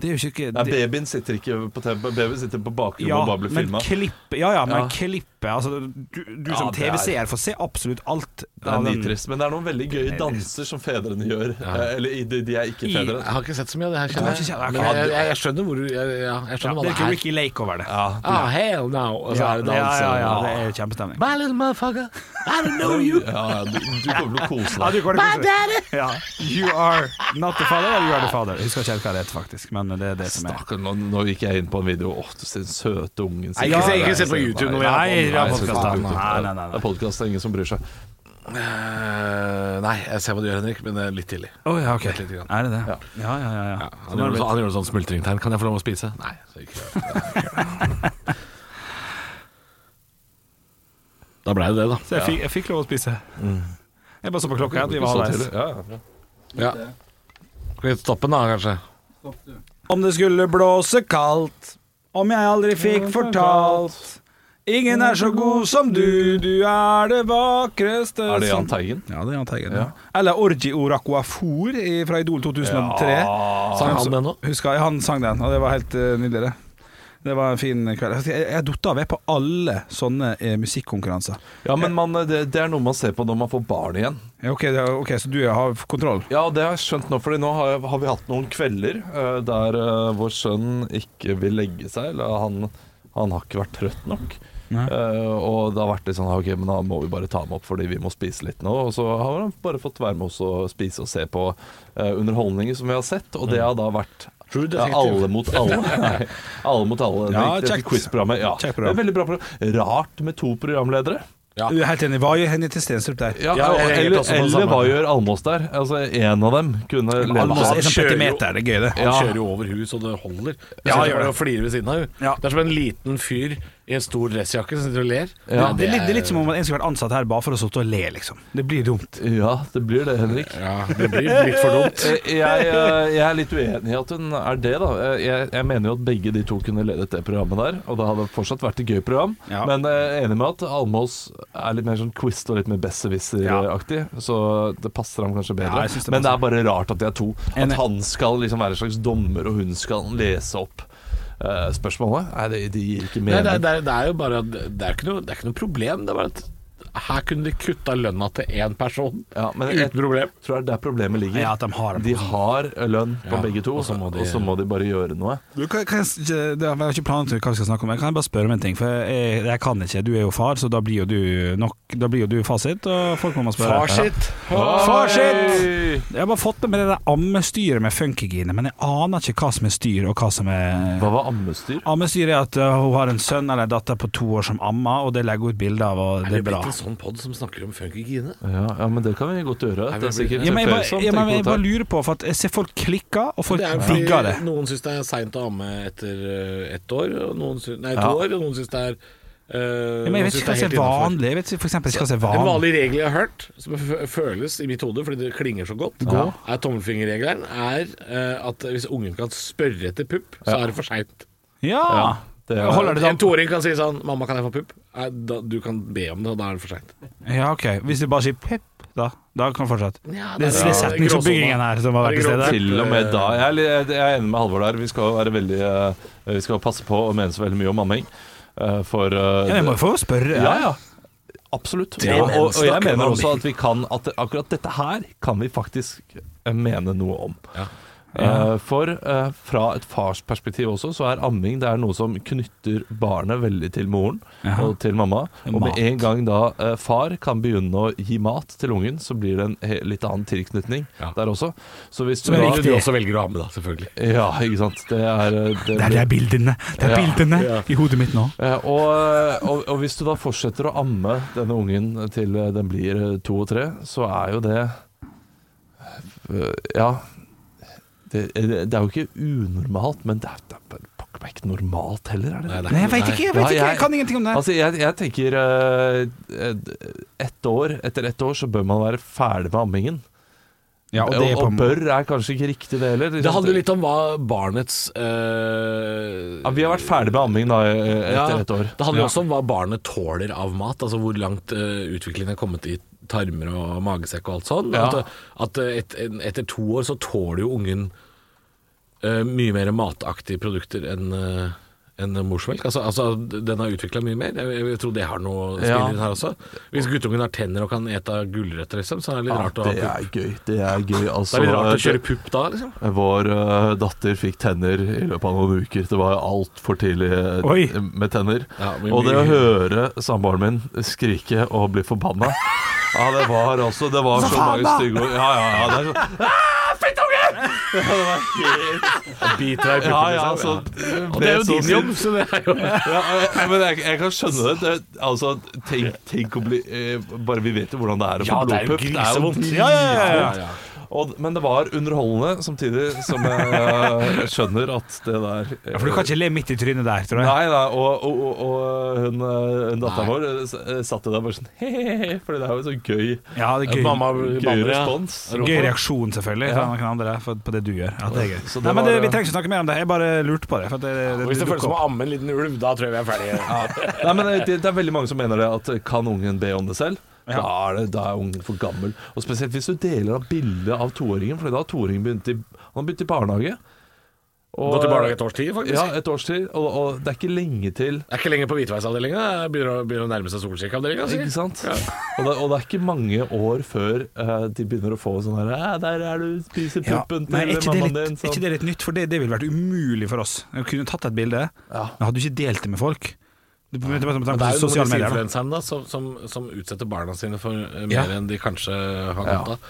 Speaker 1: Det er jo ikke
Speaker 2: Nei,
Speaker 1: det-
Speaker 2: babyen sitter ikke på TV, babyen sitter på bakrommet
Speaker 1: ja,
Speaker 2: og bare blir
Speaker 1: men
Speaker 2: filma.
Speaker 1: klipp, ja, ja, men
Speaker 2: Ja.
Speaker 1: klippet altså, Du, du
Speaker 2: Ja,
Speaker 1: som
Speaker 2: det er-
Speaker 1: TV-seer får se absolutt alt.
Speaker 2: Det
Speaker 1: av
Speaker 2: er
Speaker 1: den-
Speaker 2: nitrist, men det er noen veldig gøye danser som fedrene gjør. eh, Eller i de, de er ikke
Speaker 1: I-
Speaker 2: fedre.
Speaker 3: Jeg har ikke sett så mye av det her,
Speaker 1: Du har
Speaker 3: kjenner
Speaker 1: ikke
Speaker 3: jeg.
Speaker 1: kjent- ok.
Speaker 3: Men jeg, jeg, jeg skjønner hvor du jeg, ja, jeg
Speaker 1: Ja,
Speaker 3: skjønner
Speaker 1: det er ikke
Speaker 3: hva det er.
Speaker 1: Ricky Lake over det.
Speaker 2: Ja,
Speaker 3: Ah, hell no! Og så er det
Speaker 1: ja,
Speaker 3: dans.
Speaker 1: ja, ja,
Speaker 3: og-
Speaker 1: det er kjempestemning.
Speaker 3: My little motherfucker, I don't know you.
Speaker 2: ja, du, du kommer til å kose
Speaker 1: Ja,
Speaker 2: deg.
Speaker 1: du går det
Speaker 3: My
Speaker 1: koselig.
Speaker 3: daddy!
Speaker 1: Ja. You are not the father, eller you are the father. Jeg husker ikke helt hva det heter, faktisk. Men det er det som er
Speaker 2: Stakkar, nå, nå gikk jeg inn på en video. Åh, du ser den søte ungen
Speaker 3: Nei, ikke se- ikke se på YouTube når vi har
Speaker 1: Nei, vi har
Speaker 2: Nei, se på
Speaker 1: podcast,
Speaker 2: YouTube.
Speaker 1: da. Nei, nei, nei, nei.
Speaker 2: Det er podkast, det er ingen som bryr seg.
Speaker 3: Eh, nei, jeg ser hva du gjør, Henrik, men det er litt tidlig.
Speaker 1: Å ja, ok.
Speaker 3: Vent litt grann.
Speaker 1: Er det det? Ja, ja, ja. ja.
Speaker 3: Ja,
Speaker 1: Sånn
Speaker 3: han,
Speaker 1: har det blitt.
Speaker 3: gjorde så, han gjorde sånn smultringtegn. Kan jeg få lov å spise? Nei. Så ikke. da blei det det, da.
Speaker 1: Så jeg fikk, jeg fikk lov å spise. Jeg bare så på klokka, at vi var
Speaker 2: Så
Speaker 1: halvveis.
Speaker 2: tidlig. Ja, ja, ja.
Speaker 3: Ja. Skal vi stoppe den, da, kanskje?
Speaker 1: Om det skulle blåse kaldt, om jeg aldri fikk fortalt Ingen er så god som du, du er det vakreste
Speaker 2: Er det
Speaker 1: som
Speaker 2: Jahn Teigen?
Speaker 1: Ja, det er Jahn Teigen. Ja. Eller Orgi Orakwafor i- fra Idol 2003.
Speaker 3: Sang han det nå?
Speaker 1: Husker jeg, Han sang den, og det var helt eh, nydelig. Det Det var en fin kveld. Jeg, jeg datt av jeg på alle sånne eh, musikkonkurranser.
Speaker 2: Ja, men man, det, det er noe man ser på når man får barn igjen.
Speaker 1: Ja, ok, det er- ok, så du har kontroll?
Speaker 2: Ja, det har jeg skjønt nå, Fordi nå har, jeg, har vi hatt noen kvelder eh, der eh, vår sønn ikke vil legge seg. Eller han, han har ikke vært trøtt nok.
Speaker 1: Nei.
Speaker 2: Eh, og det har vært litt sånn Ok, men da må vi bare ta ham opp fordi vi må spise litt nå. Og så har han bare fått være med oss og spise og se på eh, underholdninger som vi har sett, og det
Speaker 1: Mm.
Speaker 2: har da vært
Speaker 3: True
Speaker 2: ja,
Speaker 3: Detective.
Speaker 2: alle mot alle. Nei, alle mot alle. Det
Speaker 1: Ja,
Speaker 2: gikk- dette
Speaker 1: kjekt.
Speaker 2: quiz-programmet. Ja.
Speaker 1: Kjekt program.
Speaker 2: Det er Veldig bra program. Rart med to programledere.
Speaker 3: Ja.
Speaker 1: Jeg er helt enig. Hva gjør Henny til Stensrup der?
Speaker 2: Ja,
Speaker 3: Ja, jeg reagerte
Speaker 2: eller,
Speaker 3: også på det
Speaker 2: eller
Speaker 3: samme.
Speaker 2: hva gjør Almås der? Altså, en av dem kunne leve
Speaker 1: Almås
Speaker 3: han
Speaker 1: er sånn
Speaker 3: kjører jo-
Speaker 1: petimeter, det er gøy, det.
Speaker 3: Han
Speaker 2: Ja.
Speaker 3: kjører jo over hus, og det holder. Jeg
Speaker 1: Ja,
Speaker 3: sitter
Speaker 1: gjør
Speaker 3: bare
Speaker 1: det.
Speaker 3: og flirer ved siden av hun.
Speaker 1: Ja.
Speaker 3: Det er som en liten fyr i en stor dressjakke som sitter og ler.
Speaker 2: Ja.
Speaker 1: det, er litt, det er litt som om en skulle vært ansatt her bare for å sitte og le, liksom. Det blir dumt.
Speaker 2: Ja, det blir det, Henrik.
Speaker 3: Ja, det blir litt for dumt.
Speaker 2: Jeg, jeg, jeg er litt uenig i at hun er det, da. Jeg, jeg mener jo at begge de to kunne ledet det programmet der, og det hadde fortsatt vært et gøy program.
Speaker 1: Ja.
Speaker 2: Men jeg er enig med at Almås er litt mer sånn quiz og litt mer besserwisser-aktig, så det passer ham kanskje
Speaker 1: Ja,
Speaker 2: bedre.
Speaker 1: jeg synes det
Speaker 2: Men det er bare rart at de er to.
Speaker 1: Enig.
Speaker 2: At han skal liksom være en slags dommer, og hun skal lese opp eh, spørsmålet. Nei, det, det gir ikke
Speaker 3: Nei, det, er-
Speaker 2: mening.
Speaker 3: det, er- det er jo bare at det er ikke noe, det er ikke noe problem. Det er bare at her kunne de kutta lønna til én person
Speaker 2: Ja, men jeg-
Speaker 3: uten problem.
Speaker 2: tror det er der problemet ligger.
Speaker 1: Ja, at de har
Speaker 2: De har lønn på
Speaker 3: Ja,
Speaker 2: begge to,
Speaker 3: og så må de-
Speaker 2: og så må de bare gjøre noe.
Speaker 1: Du, kan, kan, jeg- det har- jeg har ikke planer til hva vi skal snakke om. Jeg kan bare spørre om en ting. For jeg, jeg kan ikke. Du er jo far, så da blir jo du, nok, da blir jo du fasit, og folk må man spørre. Far sitt! Jeg har bare fått det med det der ammestyret med funkygine, men jeg aner ikke hva som er styr, og hva som er
Speaker 2: Hva var ammestyr?
Speaker 1: Ammestyret er at uh, hun har en sønn eller en datter på to år som ammer, og det legger hun ut bilde av, og det er bra.
Speaker 3: sånn pod som snakker om funkygine?
Speaker 2: Ja, ja, men det kan vi godt gjøre.
Speaker 3: Nei,
Speaker 2: Det er
Speaker 3: vi blir-
Speaker 2: sikkert
Speaker 1: Ja, men jeg, bare,
Speaker 2: følsomt,
Speaker 1: ja, men
Speaker 2: tenk
Speaker 1: jeg
Speaker 2: på
Speaker 1: bare
Speaker 2: det.
Speaker 1: lurer på, for at jeg ser folk klikker, og folk
Speaker 3: Det er fordi
Speaker 1: digger det.
Speaker 3: Noen syns det er seint å amme etter eh, ett år, og noen syns, nei, to
Speaker 2: Ja.
Speaker 3: år, og noen syns det er
Speaker 1: Ja,
Speaker 3: eh,
Speaker 1: men jeg
Speaker 3: noen
Speaker 1: vet
Speaker 3: syns
Speaker 1: ikke hva som
Speaker 3: det
Speaker 1: er
Speaker 3: er helt innenfor.
Speaker 1: vanlig. Jeg vet ikke, for eksempel ikke hva som er
Speaker 3: En
Speaker 1: vanlig.
Speaker 3: vanlig regel jeg har hørt, som f- føles i mitt hode fordi det klinger så godt, er tommelfingerregelen, er eh, at hvis ungen kan spørre etter pupp, så er det for seint.
Speaker 1: Ja.
Speaker 2: Ja, det er-
Speaker 1: Holder det
Speaker 3: En
Speaker 1: da?
Speaker 3: toåring kan si sånn 'Mamma, kan jeg få pupp?' Nei, da, du kan be om det, og da er det for seint.
Speaker 1: Ja, ok. Hvis de bare sier pip, da, da kan vi fortsette.
Speaker 3: Ja,
Speaker 1: Det er setningsoppbyggingen her som har vært til stede.
Speaker 2: Til og med da. Jeg er, li- jeg er enig med Halvor der. Vi skal være veldig eh, Vi skal passe på å mene så veldig mye om amming. eh, For eh,
Speaker 1: Ja, jeg må jo få spørre.
Speaker 2: Ja, ja. Absolutt.
Speaker 3: Det er
Speaker 2: og, og, og jeg
Speaker 3: snakker
Speaker 2: mener
Speaker 3: om
Speaker 2: også at vi kan At akkurat dette her kan vi faktisk eh, mene noe om.
Speaker 3: Ja.
Speaker 2: Eh, for eh, fra et farsperspektiv også, så er amming det er noe som knytter barnet veldig til moren
Speaker 1: Jaha.
Speaker 2: og til mamma. Og
Speaker 1: Mat.
Speaker 2: med en gang da eh, far kan begynne å gi mat til ungen, så blir det en he- litt annen tilknytning
Speaker 3: Ja.
Speaker 2: der også. Så hvis du
Speaker 1: Som er
Speaker 2: da
Speaker 1: viktig.
Speaker 3: Du også velger å ha med, da, selvfølgelig.
Speaker 2: Ja, ikke sant. Det er, eh, det
Speaker 1: Det er, det er bildene Det er
Speaker 2: Ja.
Speaker 1: bildene
Speaker 3: Ja.
Speaker 1: i hodet mitt nå.
Speaker 2: Eh, og, og, og hvis du da fortsetter å amme denne ungen til eh, den blir eh, to og tre, så er jo det eh, Ja. Det, eh, det er jo ikke unormalt, men det er, det er pokker meg ikke normalt heller, er det det?
Speaker 3: det er
Speaker 1: Nei, jeg veit ikke! Jeg vet
Speaker 2: Nei,
Speaker 1: ikke,
Speaker 2: jeg-
Speaker 1: jeg kan ingenting om det. her.
Speaker 2: Altså, jeg, jeg tenker eh, ett år, Etter ett år så bør man være ferdig med ammingen.
Speaker 1: Ja,
Speaker 2: og, og, bør er kanskje ikke riktig, det heller.
Speaker 3: Det handler litt om hva barnets eh,
Speaker 2: ja, Vi har vært ferdig med amming da, eh, etter
Speaker 3: Ja,
Speaker 2: ett år.
Speaker 3: Det handler
Speaker 1: Ja.
Speaker 3: også om hva barnet tåler av mat, altså hvor langt eh, utviklingen er kommet i tarmer og magesekk og alt sånn.
Speaker 2: Ja.
Speaker 3: At, at et, en, etter to år så tåler jo ungen eh, mye mer mataktige produkter enn eh, enn morsmelk. Altså, altså, den har utvikla mye mer. Jeg, jeg tror det har noe
Speaker 2: Ja.
Speaker 3: spiller inn her også. Hvis guttungen har tenner og kan ete gulrøtter, liksom, så er det litt rart å ha
Speaker 2: det
Speaker 3: pupp.
Speaker 2: er gøy. Det er gøy,
Speaker 3: Det
Speaker 2: altså.
Speaker 3: er litt rart å
Speaker 2: Det-
Speaker 3: kjøre pupp da, liksom.
Speaker 2: Vår eh, datter fikk tenner i løpet av noen uker. Det var altfor tidlig eh,
Speaker 1: Oi.
Speaker 2: med tenner.
Speaker 3: Ja, men-
Speaker 2: og det å høre samboeren min skrike og bli forbanna Ja, det var også Det var så mange stygge ord. Ja, ja, ja. Det er sånn
Speaker 3: Ah, Biter deg i
Speaker 2: Ja,
Speaker 3: puppen,
Speaker 2: ja,
Speaker 3: liksom.
Speaker 2: altså,
Speaker 3: Og det er jo
Speaker 2: så
Speaker 3: din
Speaker 2: sint.
Speaker 3: jobb, så det er jo
Speaker 2: Ja, eh, men jeg, jeg kan skjønne det. det altså, tenk, tenk å bli eh, Bare vi vet jo hvordan det er å få
Speaker 3: Ja, det er jo
Speaker 2: blodpupp.
Speaker 3: grisevondt.
Speaker 2: Ja, ja, ja, ja.
Speaker 3: ja.
Speaker 2: Og, men det var underholdende, samtidig som jeg eh, skjønner at det der
Speaker 1: Ja, For du kan ikke le midt i trynet der, tror jeg.
Speaker 2: Nei, nei, og, og, og, og hun, eh, hun datteren
Speaker 3: Nei.
Speaker 2: vår eh, s- eh, satt jo der bare sånn hehehe, Fordi det er jo så gøy,
Speaker 1: Ja, det er gøy.
Speaker 3: Mamma
Speaker 2: gøy
Speaker 3: banner, ja.
Speaker 2: respons
Speaker 1: Gøy reaksjon, selvfølgelig, fra noen andre for, på det du gjør. Ja, det er gøy.
Speaker 2: Så det
Speaker 1: Nei, men
Speaker 2: var-
Speaker 1: det, Vi trenger ikke snakke mer om det. Jeg bare lurte på det. For at det, det,
Speaker 3: Og
Speaker 1: det,
Speaker 3: Hvis det
Speaker 1: dukker
Speaker 3: føles som
Speaker 1: opp.
Speaker 3: å amme en liten ulv, da tror jeg vi er ferdige.
Speaker 2: Nei, men eh, det, det er veldig mange som mener det At eh, kan ungen be om det selv? Da er, det, da er ungen for gammel Og spesielt hvis du deler av bildet av toåringen Fordi da har toåringen begynt i, han har begynt i barnehage og,
Speaker 3: Gå til barnehage et års tid, faktisk.
Speaker 2: Ja, et års tid og, og det er ikke lenge til
Speaker 3: Det er ikke lenger på hvitveisavdelinga. det Begynner, å- begynner å nærme seg sukkerskikkeavdelinga.
Speaker 2: Ikke sant? Og, det, og det er ikke mange år før eh, de begynner å få sånn her «Æ, Der er du, spiser
Speaker 1: Ja,
Speaker 2: puppen
Speaker 1: nei, er
Speaker 2: til
Speaker 1: ikke, det
Speaker 2: mammaen
Speaker 1: litt,
Speaker 2: din
Speaker 1: er
Speaker 2: sånn.
Speaker 1: ikke det litt nytt? For det, det ville vært umulig for oss. Jeg kunne tatt et bilde,
Speaker 2: Ja.
Speaker 1: men hadde du ikke delt det med folk Det, det, det,
Speaker 3: Men det er jo noen av
Speaker 1: sosiale
Speaker 3: disse
Speaker 1: medier. da.
Speaker 3: influenserne da, som, som, som utsetter barna sine for eh,
Speaker 1: Ja.
Speaker 3: mer enn de kanskje har
Speaker 2: Ja.
Speaker 3: godt av.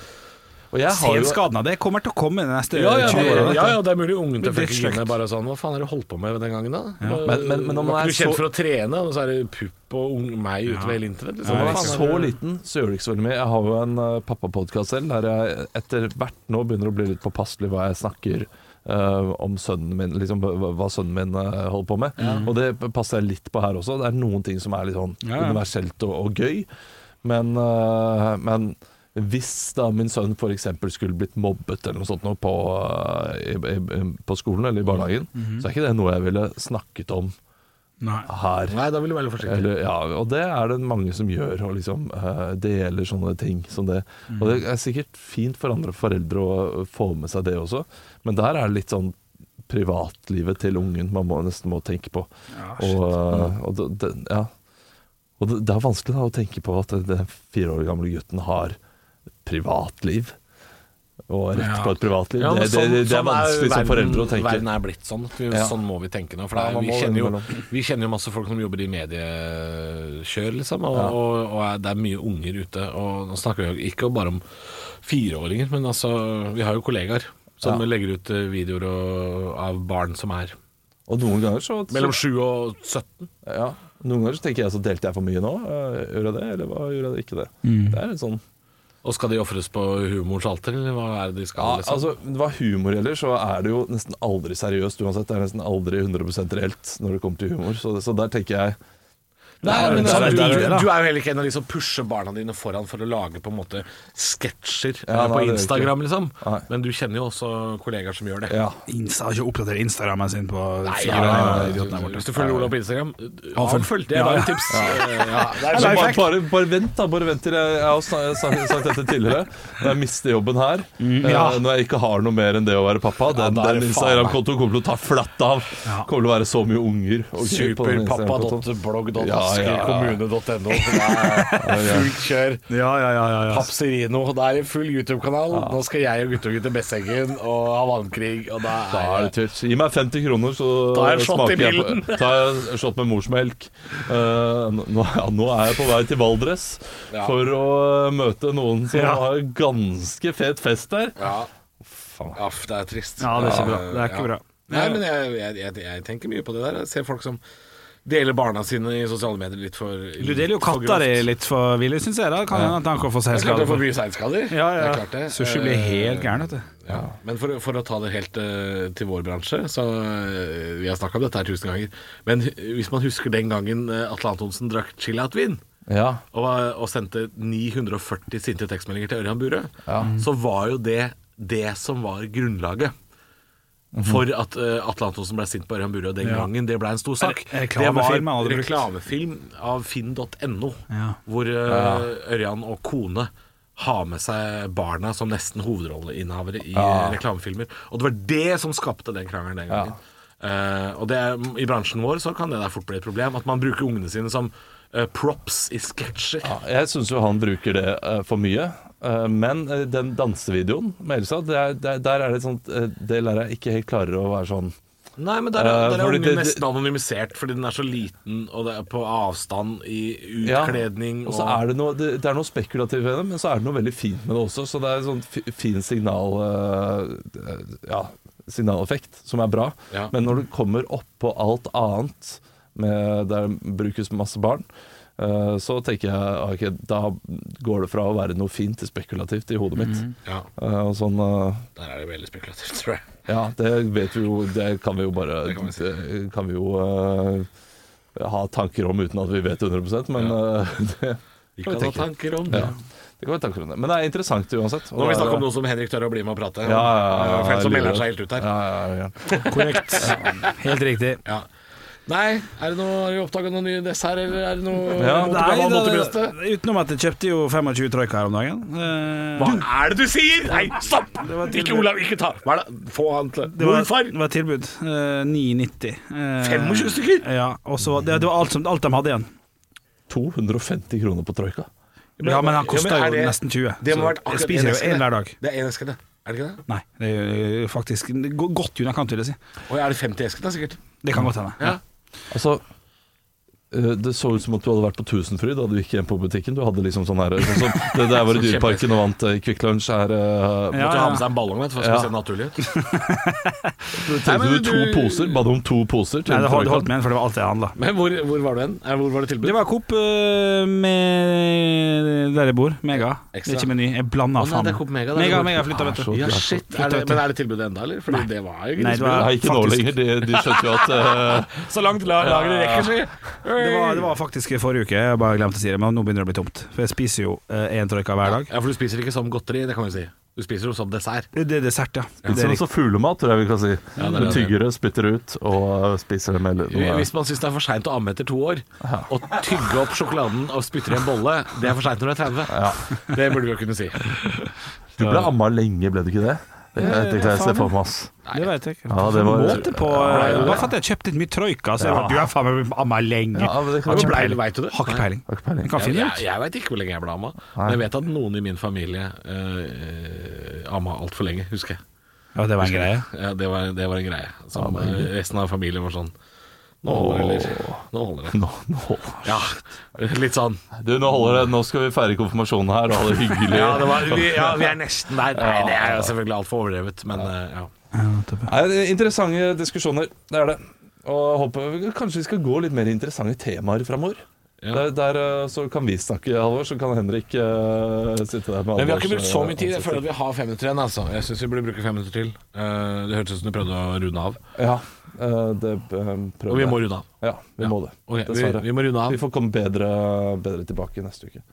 Speaker 2: Og jeg har
Speaker 1: Se
Speaker 2: jo
Speaker 1: skaden av det. Kommer til å komme de neste
Speaker 3: Ja, ja,
Speaker 1: 20
Speaker 3: det,
Speaker 1: årene.
Speaker 3: ja, ja, det er mulig ungen til
Speaker 1: Men
Speaker 3: Fredrik
Speaker 1: drittlekt.
Speaker 3: Gimle bare sånn Hva faen har du holdt på med den gangen, da? Hva-
Speaker 2: Men- men- men når man
Speaker 3: var
Speaker 2: er
Speaker 3: ikke du kjent
Speaker 2: så-
Speaker 3: for å trene, og så er det pupp og ung meg ute ved hele internett? Liksom.
Speaker 2: når
Speaker 3: Hva
Speaker 2: man er
Speaker 3: faen
Speaker 2: så
Speaker 3: er det-
Speaker 2: liten, så gjør det ikke så veldig mye. Jeg har jo en eh, pappapodkast selv der jeg etter hvert nå begynner å bli litt påpasselig hva jeg snakker eh, om sønnen min, liksom hva hva sønnen min eh, holder på med. Og det passer jeg litt på her også. Det er noen ting som er litt sånn
Speaker 1: Ja, ja.
Speaker 2: universelt og, og gøy. Men, eh, men hvis da min sønn f.eks. skulle blitt mobbet eller noe sånt nå på, eh, i, i, på skolen eller i barnehagen,
Speaker 3: Mhm.
Speaker 2: så er ikke det noe jeg ville snakket om
Speaker 1: Nei.
Speaker 2: her.
Speaker 3: Nei, da vil du være litt forsiktig.
Speaker 2: Eller, ja, og det er det mange som gjør, og liksom eh, deler sånne ting som det.
Speaker 3: Mm.
Speaker 2: Og det er sikkert fint for andre foreldre å få med seg det også, men der er det litt sånn privatlivet til ungen man må, nesten må tenke på.
Speaker 3: Ah,
Speaker 2: og, eh, og, det, det- ja. og det, det er vanskelig da å tenke på at den fire år gamle gutten har privatliv. Og rett
Speaker 1: Ja.
Speaker 2: på et privatliv.
Speaker 3: Ja, men
Speaker 2: det, det,
Speaker 3: sånn-
Speaker 2: det, det er
Speaker 3: sånn
Speaker 2: vanskelig som
Speaker 3: verden-
Speaker 2: foreldre å tenke.
Speaker 3: Verden er blitt sånn. at Vi,
Speaker 2: Ja.
Speaker 3: Sånn må vi tenke nå. For
Speaker 2: Ja,
Speaker 3: det er,
Speaker 2: man
Speaker 3: vi,
Speaker 2: må
Speaker 3: kjenner jo,
Speaker 2: innimellom.
Speaker 3: vi kjenner jo masse folk som jobber i mediekjør, liksom. Og,
Speaker 2: Ja.
Speaker 3: og, og er, det er mye unger ute. Og nå snakker vi jo ikke bare om fireåringer, men altså Vi har jo kollegaer som
Speaker 2: Ja.
Speaker 3: legger ut eh, videoer og, av barn som er
Speaker 2: Og noen ganger så, så
Speaker 3: mellom 7 og 17.
Speaker 2: Ja, Noen ganger så tenker jeg så delte jeg for mye nå. Eh, Gjorde jeg det, eller hva gjorde jeg ikke det?
Speaker 3: Mm.
Speaker 2: Det er litt sånn
Speaker 3: Og skal de ofres på humorens alter, eller hva er det de
Speaker 2: ja,
Speaker 3: skal? liksom?
Speaker 2: altså, Hva humor gjelder, så er det jo nesten aldri seriøst uansett. Det er nesten aldri 100 reelt når det kommer til humor. Så, så der tenker jeg
Speaker 3: Nei,
Speaker 2: Det er
Speaker 3: men
Speaker 2: jo
Speaker 3: altså,
Speaker 2: det
Speaker 3: du,
Speaker 2: er jo
Speaker 3: du,
Speaker 2: det, da.
Speaker 3: du er jo heller ikke en av de som pusher barna dine foran for å lage på en måte sketsjer
Speaker 2: Ja,
Speaker 3: eh,
Speaker 2: nei,
Speaker 3: på
Speaker 2: det er jo
Speaker 3: Instagram, liksom.
Speaker 2: Nei.
Speaker 3: Men du kjenner jo også kollegaer som gjør det.
Speaker 2: Ja.
Speaker 1: Insta har ikke oppdatert Instagrammen sin på
Speaker 3: Nei,
Speaker 1: fire
Speaker 3: ja, ja,
Speaker 1: dager.
Speaker 3: ja,
Speaker 1: Idioten der borte.
Speaker 3: Hvis du følger Ola på Instagram,
Speaker 1: Han
Speaker 3: han
Speaker 1: følger-
Speaker 3: følger det. er
Speaker 1: Ja,
Speaker 3: bare
Speaker 1: ja.
Speaker 3: et tips. Eh, ja, det er
Speaker 2: Så
Speaker 3: sånn-
Speaker 2: bare, bare, bare vent, da. Bare vent til jeg, jeg har snak- sagt, sagt dette tidligere. Når jeg mister jobben her,
Speaker 1: ja.
Speaker 2: eh, når jeg ikke har noe mer enn det å være pappa
Speaker 3: Mm, Ja,
Speaker 2: Den,
Speaker 3: da er det
Speaker 2: den
Speaker 3: faen meg.
Speaker 2: Instagram-kontoen kommer til å ta flatt av.
Speaker 1: Ja.
Speaker 2: Kommer til å være så mye unger. og gøy på den Instagram-kontoen. Ja,
Speaker 3: Superpappa.blogg.asker,
Speaker 2: ja, ja.
Speaker 3: kommune.no. Det er Fullt kjør.
Speaker 1: Ja, ja, ja, ja, ja.
Speaker 3: Papserino. Det er en full YouTube-kanal. Nå skal jeg og guttegutter Besseggen og ha vannkrig, og da
Speaker 2: Da er det tørt. Gi meg 50 kroner, så
Speaker 3: Ta en shot i
Speaker 2: smaker jeg
Speaker 3: bilen.
Speaker 2: på Ta en shot med morsmelk. Eh, nå, ja, nå er jeg på vei til Valdres
Speaker 3: Ja.
Speaker 2: for å eh, møte noen som
Speaker 1: Ja.
Speaker 2: har ganske fet fest der.
Speaker 3: Ja.
Speaker 2: Faen.
Speaker 3: Aff, det er trist.
Speaker 1: Ja, det er ikke bra. Det er
Speaker 3: Ja.
Speaker 1: ikke bra.
Speaker 3: Nei, men jeg, jeg, jeg, jeg tenker mye på det der. Jeg ser folk som deler barna sine i sosiale medier litt for
Speaker 1: Du deler jo
Speaker 3: for
Speaker 1: katta di
Speaker 3: grovt.
Speaker 1: litt for villig, syns jeg. Da kan hende at han kan få
Speaker 3: Det
Speaker 1: seg
Speaker 3: er klart
Speaker 1: skade.
Speaker 3: det får
Speaker 1: for-
Speaker 3: mye seinskader.
Speaker 1: Ja,
Speaker 3: Det
Speaker 1: ja.
Speaker 3: er klart det. Eh,
Speaker 1: Sushi blir helt gæren, vet du.
Speaker 3: Ja. Men for, å- for å ta det helt eh, til vår bransje, så eh, Vi har snakka om dette her tusen ganger. Men hu- hvis man husker den gangen eh, Atle Antonsen drakk chill-out-vin
Speaker 2: Ja.
Speaker 3: og, var- og sendte 940 sinte tekstmeldinger til Ørjan Burøe,
Speaker 2: Ja.
Speaker 1: Mm.
Speaker 3: så var jo det det som var grunnlaget. For at eh, Atle Antonsen ble sint på Ørjan Burøe den
Speaker 1: Mhm. Ja.
Speaker 3: gangen. Det ble en stor sak.
Speaker 1: Er-
Speaker 3: det var
Speaker 1: reklamefilm han hadde brukt.
Speaker 3: reklamefilm av finn.no,
Speaker 1: Ja.
Speaker 3: hvor eh, Ørjan og kone har med seg barna som nesten hovedrolleinnehavere i
Speaker 2: Ja.
Speaker 3: eh, reklamefilmer. Og det var det som skapte den krangelen den gangen. Eh, og det er, I bransjen vår så kan det der fort bli et problem. At man bruker ungene sine som eh, props i sketsjer.
Speaker 2: Ja, jeg syns jo han bruker det eh, for mye. Eh, men eh, den dansevideoen med Elsa, det er, det er, der er det sånt eh, Det lærer jeg ikke helt klarer å være sånn
Speaker 3: Nei, men der, er-
Speaker 2: Eh,
Speaker 3: der er
Speaker 2: fordi
Speaker 3: ungen
Speaker 2: det-
Speaker 3: nesten anonymisert fordi den er så liten, og det er på avstand i
Speaker 2: Ja.
Speaker 3: utkledning
Speaker 2: Og så er det noe, det, det er noe spekulativt ved det, men så er det noe veldig fint med det også. Så det er en sånn fi- fin signal eh, Ja, signaleffekt som er bra.
Speaker 3: Ja.
Speaker 2: Men når du kommer oppå alt annet med, der det brukes masse barn, eh, så tenker jeg ok, da går det fra å være noe fint til spekulativt i hodet mitt.
Speaker 3: Ja,
Speaker 2: Eh, og sånn eh,
Speaker 3: der er det veldig spekulativt, tror jeg.
Speaker 2: Ja, det vet vi jo Det kan vi jo bare
Speaker 3: Det
Speaker 2: Det
Speaker 3: kan
Speaker 2: kan
Speaker 3: vi
Speaker 2: vi,
Speaker 3: si.
Speaker 2: jo eh, ha tanker om uten at vi vet 100 men eh, det,
Speaker 3: Vi
Speaker 2: kan vi
Speaker 3: kan ha
Speaker 2: tenke.
Speaker 3: tanker om det.
Speaker 2: ja, det kan vi tanker om det. Men det er interessant uansett.
Speaker 3: Nå må vi snakke om noe som Henrik tør å bli med og
Speaker 2: Ja,
Speaker 3: prate.
Speaker 2: ja, ja,
Speaker 3: Eh, for en som
Speaker 2: jeg lurer.
Speaker 3: melder seg helt ut her.
Speaker 2: Ja, ja, ja.
Speaker 1: Korrekt. Helt riktig.
Speaker 3: Ja. Nei, er det noe, har du oppdaga noen nye dessert, eller er det noe
Speaker 2: Ja,
Speaker 3: mot
Speaker 1: Nei,
Speaker 3: gammel, mot
Speaker 1: det-
Speaker 3: beste?
Speaker 1: utenom at jeg kjøpte jo 25 troika her om dagen. Eh,
Speaker 3: Hva er det du sier?! Nei, stopp!
Speaker 1: var til-
Speaker 3: Ikke Olav, ikke ta Hva er det? Få han til
Speaker 1: Det var,
Speaker 3: Morfar!
Speaker 1: det var tilbud. Eh, 9,90. Eh,
Speaker 3: 25 stykker?
Speaker 1: Ja. Og så det, det var alt, som, alt de hadde igjen.
Speaker 2: 250 kroner på troika.
Speaker 1: Ja, men han kosta
Speaker 3: Ja, men er
Speaker 1: jo
Speaker 3: det-
Speaker 1: nesten 20.
Speaker 3: Det må
Speaker 1: så
Speaker 3: ha vært akkurat
Speaker 1: jeg spiser
Speaker 3: en
Speaker 1: jo
Speaker 3: eske, det.
Speaker 1: én hver dag.
Speaker 3: Det er én eske, det. Er det ikke det?
Speaker 1: Nei, det er jo faktisk det går godt i underkant, vil jeg si.
Speaker 3: Og er det 50 esker, da, sikkert?
Speaker 1: Det kan godt hende.
Speaker 3: Ja.
Speaker 2: Altså eh, det så ut som at du hadde vært på Tusenfryd da du gikk hjem på butikken. Du hadde liksom sånn her sånn, som Det der var i Dyreparken og vant eh, Kvikk Lunsj her. eh,
Speaker 1: Ja,
Speaker 3: Måtte jo
Speaker 1: ja.
Speaker 3: ha med seg en ballong vet, du, for å
Speaker 2: Ja.
Speaker 3: se naturlig ut. Nei,
Speaker 2: Trengte
Speaker 3: men
Speaker 2: du to
Speaker 3: du-
Speaker 2: poser? Ba du om to poser? til
Speaker 1: Nei, det holdt,
Speaker 2: troikaen?
Speaker 1: det holdt med en, for det var alt jeg handla.
Speaker 3: Men hvor, hvor var du hen? Eh, Hvor var det tilbud?
Speaker 1: Det var Coop eh, med der jeg bor. Mega.
Speaker 3: Ekstra.
Speaker 1: Ikke Meny. Jeg blanda
Speaker 3: Å, nei,
Speaker 1: faen.
Speaker 3: det er Coop Mega, det er
Speaker 1: Mega,
Speaker 3: det
Speaker 1: mega flytta, vet
Speaker 2: Ah, så
Speaker 1: du.
Speaker 3: ja, shit, er det, Men er det tilbudet enda, eller? Fordi det var jo liksom-
Speaker 1: Nei, det var-
Speaker 3: grisebillig.
Speaker 2: Nei, ikke nå
Speaker 1: Faktisk.
Speaker 2: lenger. De, de skjønte jo at eh,
Speaker 3: Så langt la- lageret rekker, si.
Speaker 1: Det var, det var faktisk forrige uke, jeg bare glemte å si det, men nå begynner det å bli tomt. For jeg spiser jo én troika hver dag.
Speaker 3: Ja, for du spiser ikke som godteri, det kan vi si. Du spiser jo som dessert.
Speaker 1: Det er dessert, ja.
Speaker 2: Litt
Speaker 1: Det er
Speaker 2: sånn som fuglemat, tror jeg vi kan si.
Speaker 3: Ja, det er
Speaker 2: du
Speaker 3: det.
Speaker 2: tygger det, spytter det ut og eh, spiser det med noe.
Speaker 3: Hvis man syns det er for seint å amme etter to år, å tygge opp sjokoladen og spytte i en bolle, det er for seint når du er 30. Det burde vi jo kunne si.
Speaker 2: Du ble amma lenge, ble du ikke det? Det
Speaker 1: Ja,
Speaker 2: det kan jeg se
Speaker 1: faen.
Speaker 2: for meg, ass.
Speaker 1: riktig. det vet jeg ikke.
Speaker 2: Ja, det var-
Speaker 1: Måte på eh, Bare for at jeg kjøpte litt mye troika, så jeg bare Du er faen meg amma lenge.
Speaker 2: Ja, men det kan
Speaker 1: Har
Speaker 2: jo
Speaker 1: ikke
Speaker 3: bli-
Speaker 1: peiling.
Speaker 3: Vet du det?
Speaker 1: Har ikke
Speaker 3: Nei.
Speaker 1: peiling.
Speaker 2: Har ikke peiling.
Speaker 1: Jeg kan
Speaker 3: Jeg,
Speaker 1: finne
Speaker 3: jeg,
Speaker 1: det ut.
Speaker 3: jeg veit ikke hvor lenge jeg ble amma,
Speaker 2: Nei.
Speaker 3: men jeg vet at noen i min familie eh, amma altfor lenge, husker jeg.
Speaker 1: Ja, det var en greie.
Speaker 3: Ja, det var, det var en greie. Som, eh, resten av familien var sånn Nå
Speaker 2: Åh.
Speaker 3: holder det, eller? Nå holder det.
Speaker 2: Nå, nå.
Speaker 3: Ja, litt sånn.
Speaker 2: Du, nå holder det. Nå skal vi feire konfirmasjonen her og ha det hyggelig.
Speaker 3: Ja, det var, vi, ja, vi er nesten der. Nei, det er jo selvfølgelig altfor overdrevet, men eh, ja.
Speaker 1: Ja, nettopp.
Speaker 2: Nei, det er interessante diskusjoner, det er det. Og jeg håper, Kanskje vi skal gå litt mer interessante temaer framover. Der, der eh, så kan vi snakke, Halvor, så kan Henrik eh, sitte der med
Speaker 3: Men vi har ikke
Speaker 2: Halvors,
Speaker 3: brukt så
Speaker 2: eh,
Speaker 3: mye tid. Jeg
Speaker 2: ansikter.
Speaker 3: føler at vi har fem minutter igjen. altså Jeg syns vi burde bruke fem minutter til. Eh, det hørtes ut som du prøvde å runde av.
Speaker 2: Ja, eh, det eh, prøver
Speaker 3: Og vi
Speaker 2: jeg.
Speaker 3: må runde av.
Speaker 2: Ja, vi
Speaker 3: Ja.
Speaker 2: må det.
Speaker 3: Ok, vi,
Speaker 2: Dessverre.
Speaker 3: vi må runde
Speaker 2: Vi
Speaker 3: av.
Speaker 2: får komme bedre, bedre tilbake neste uke.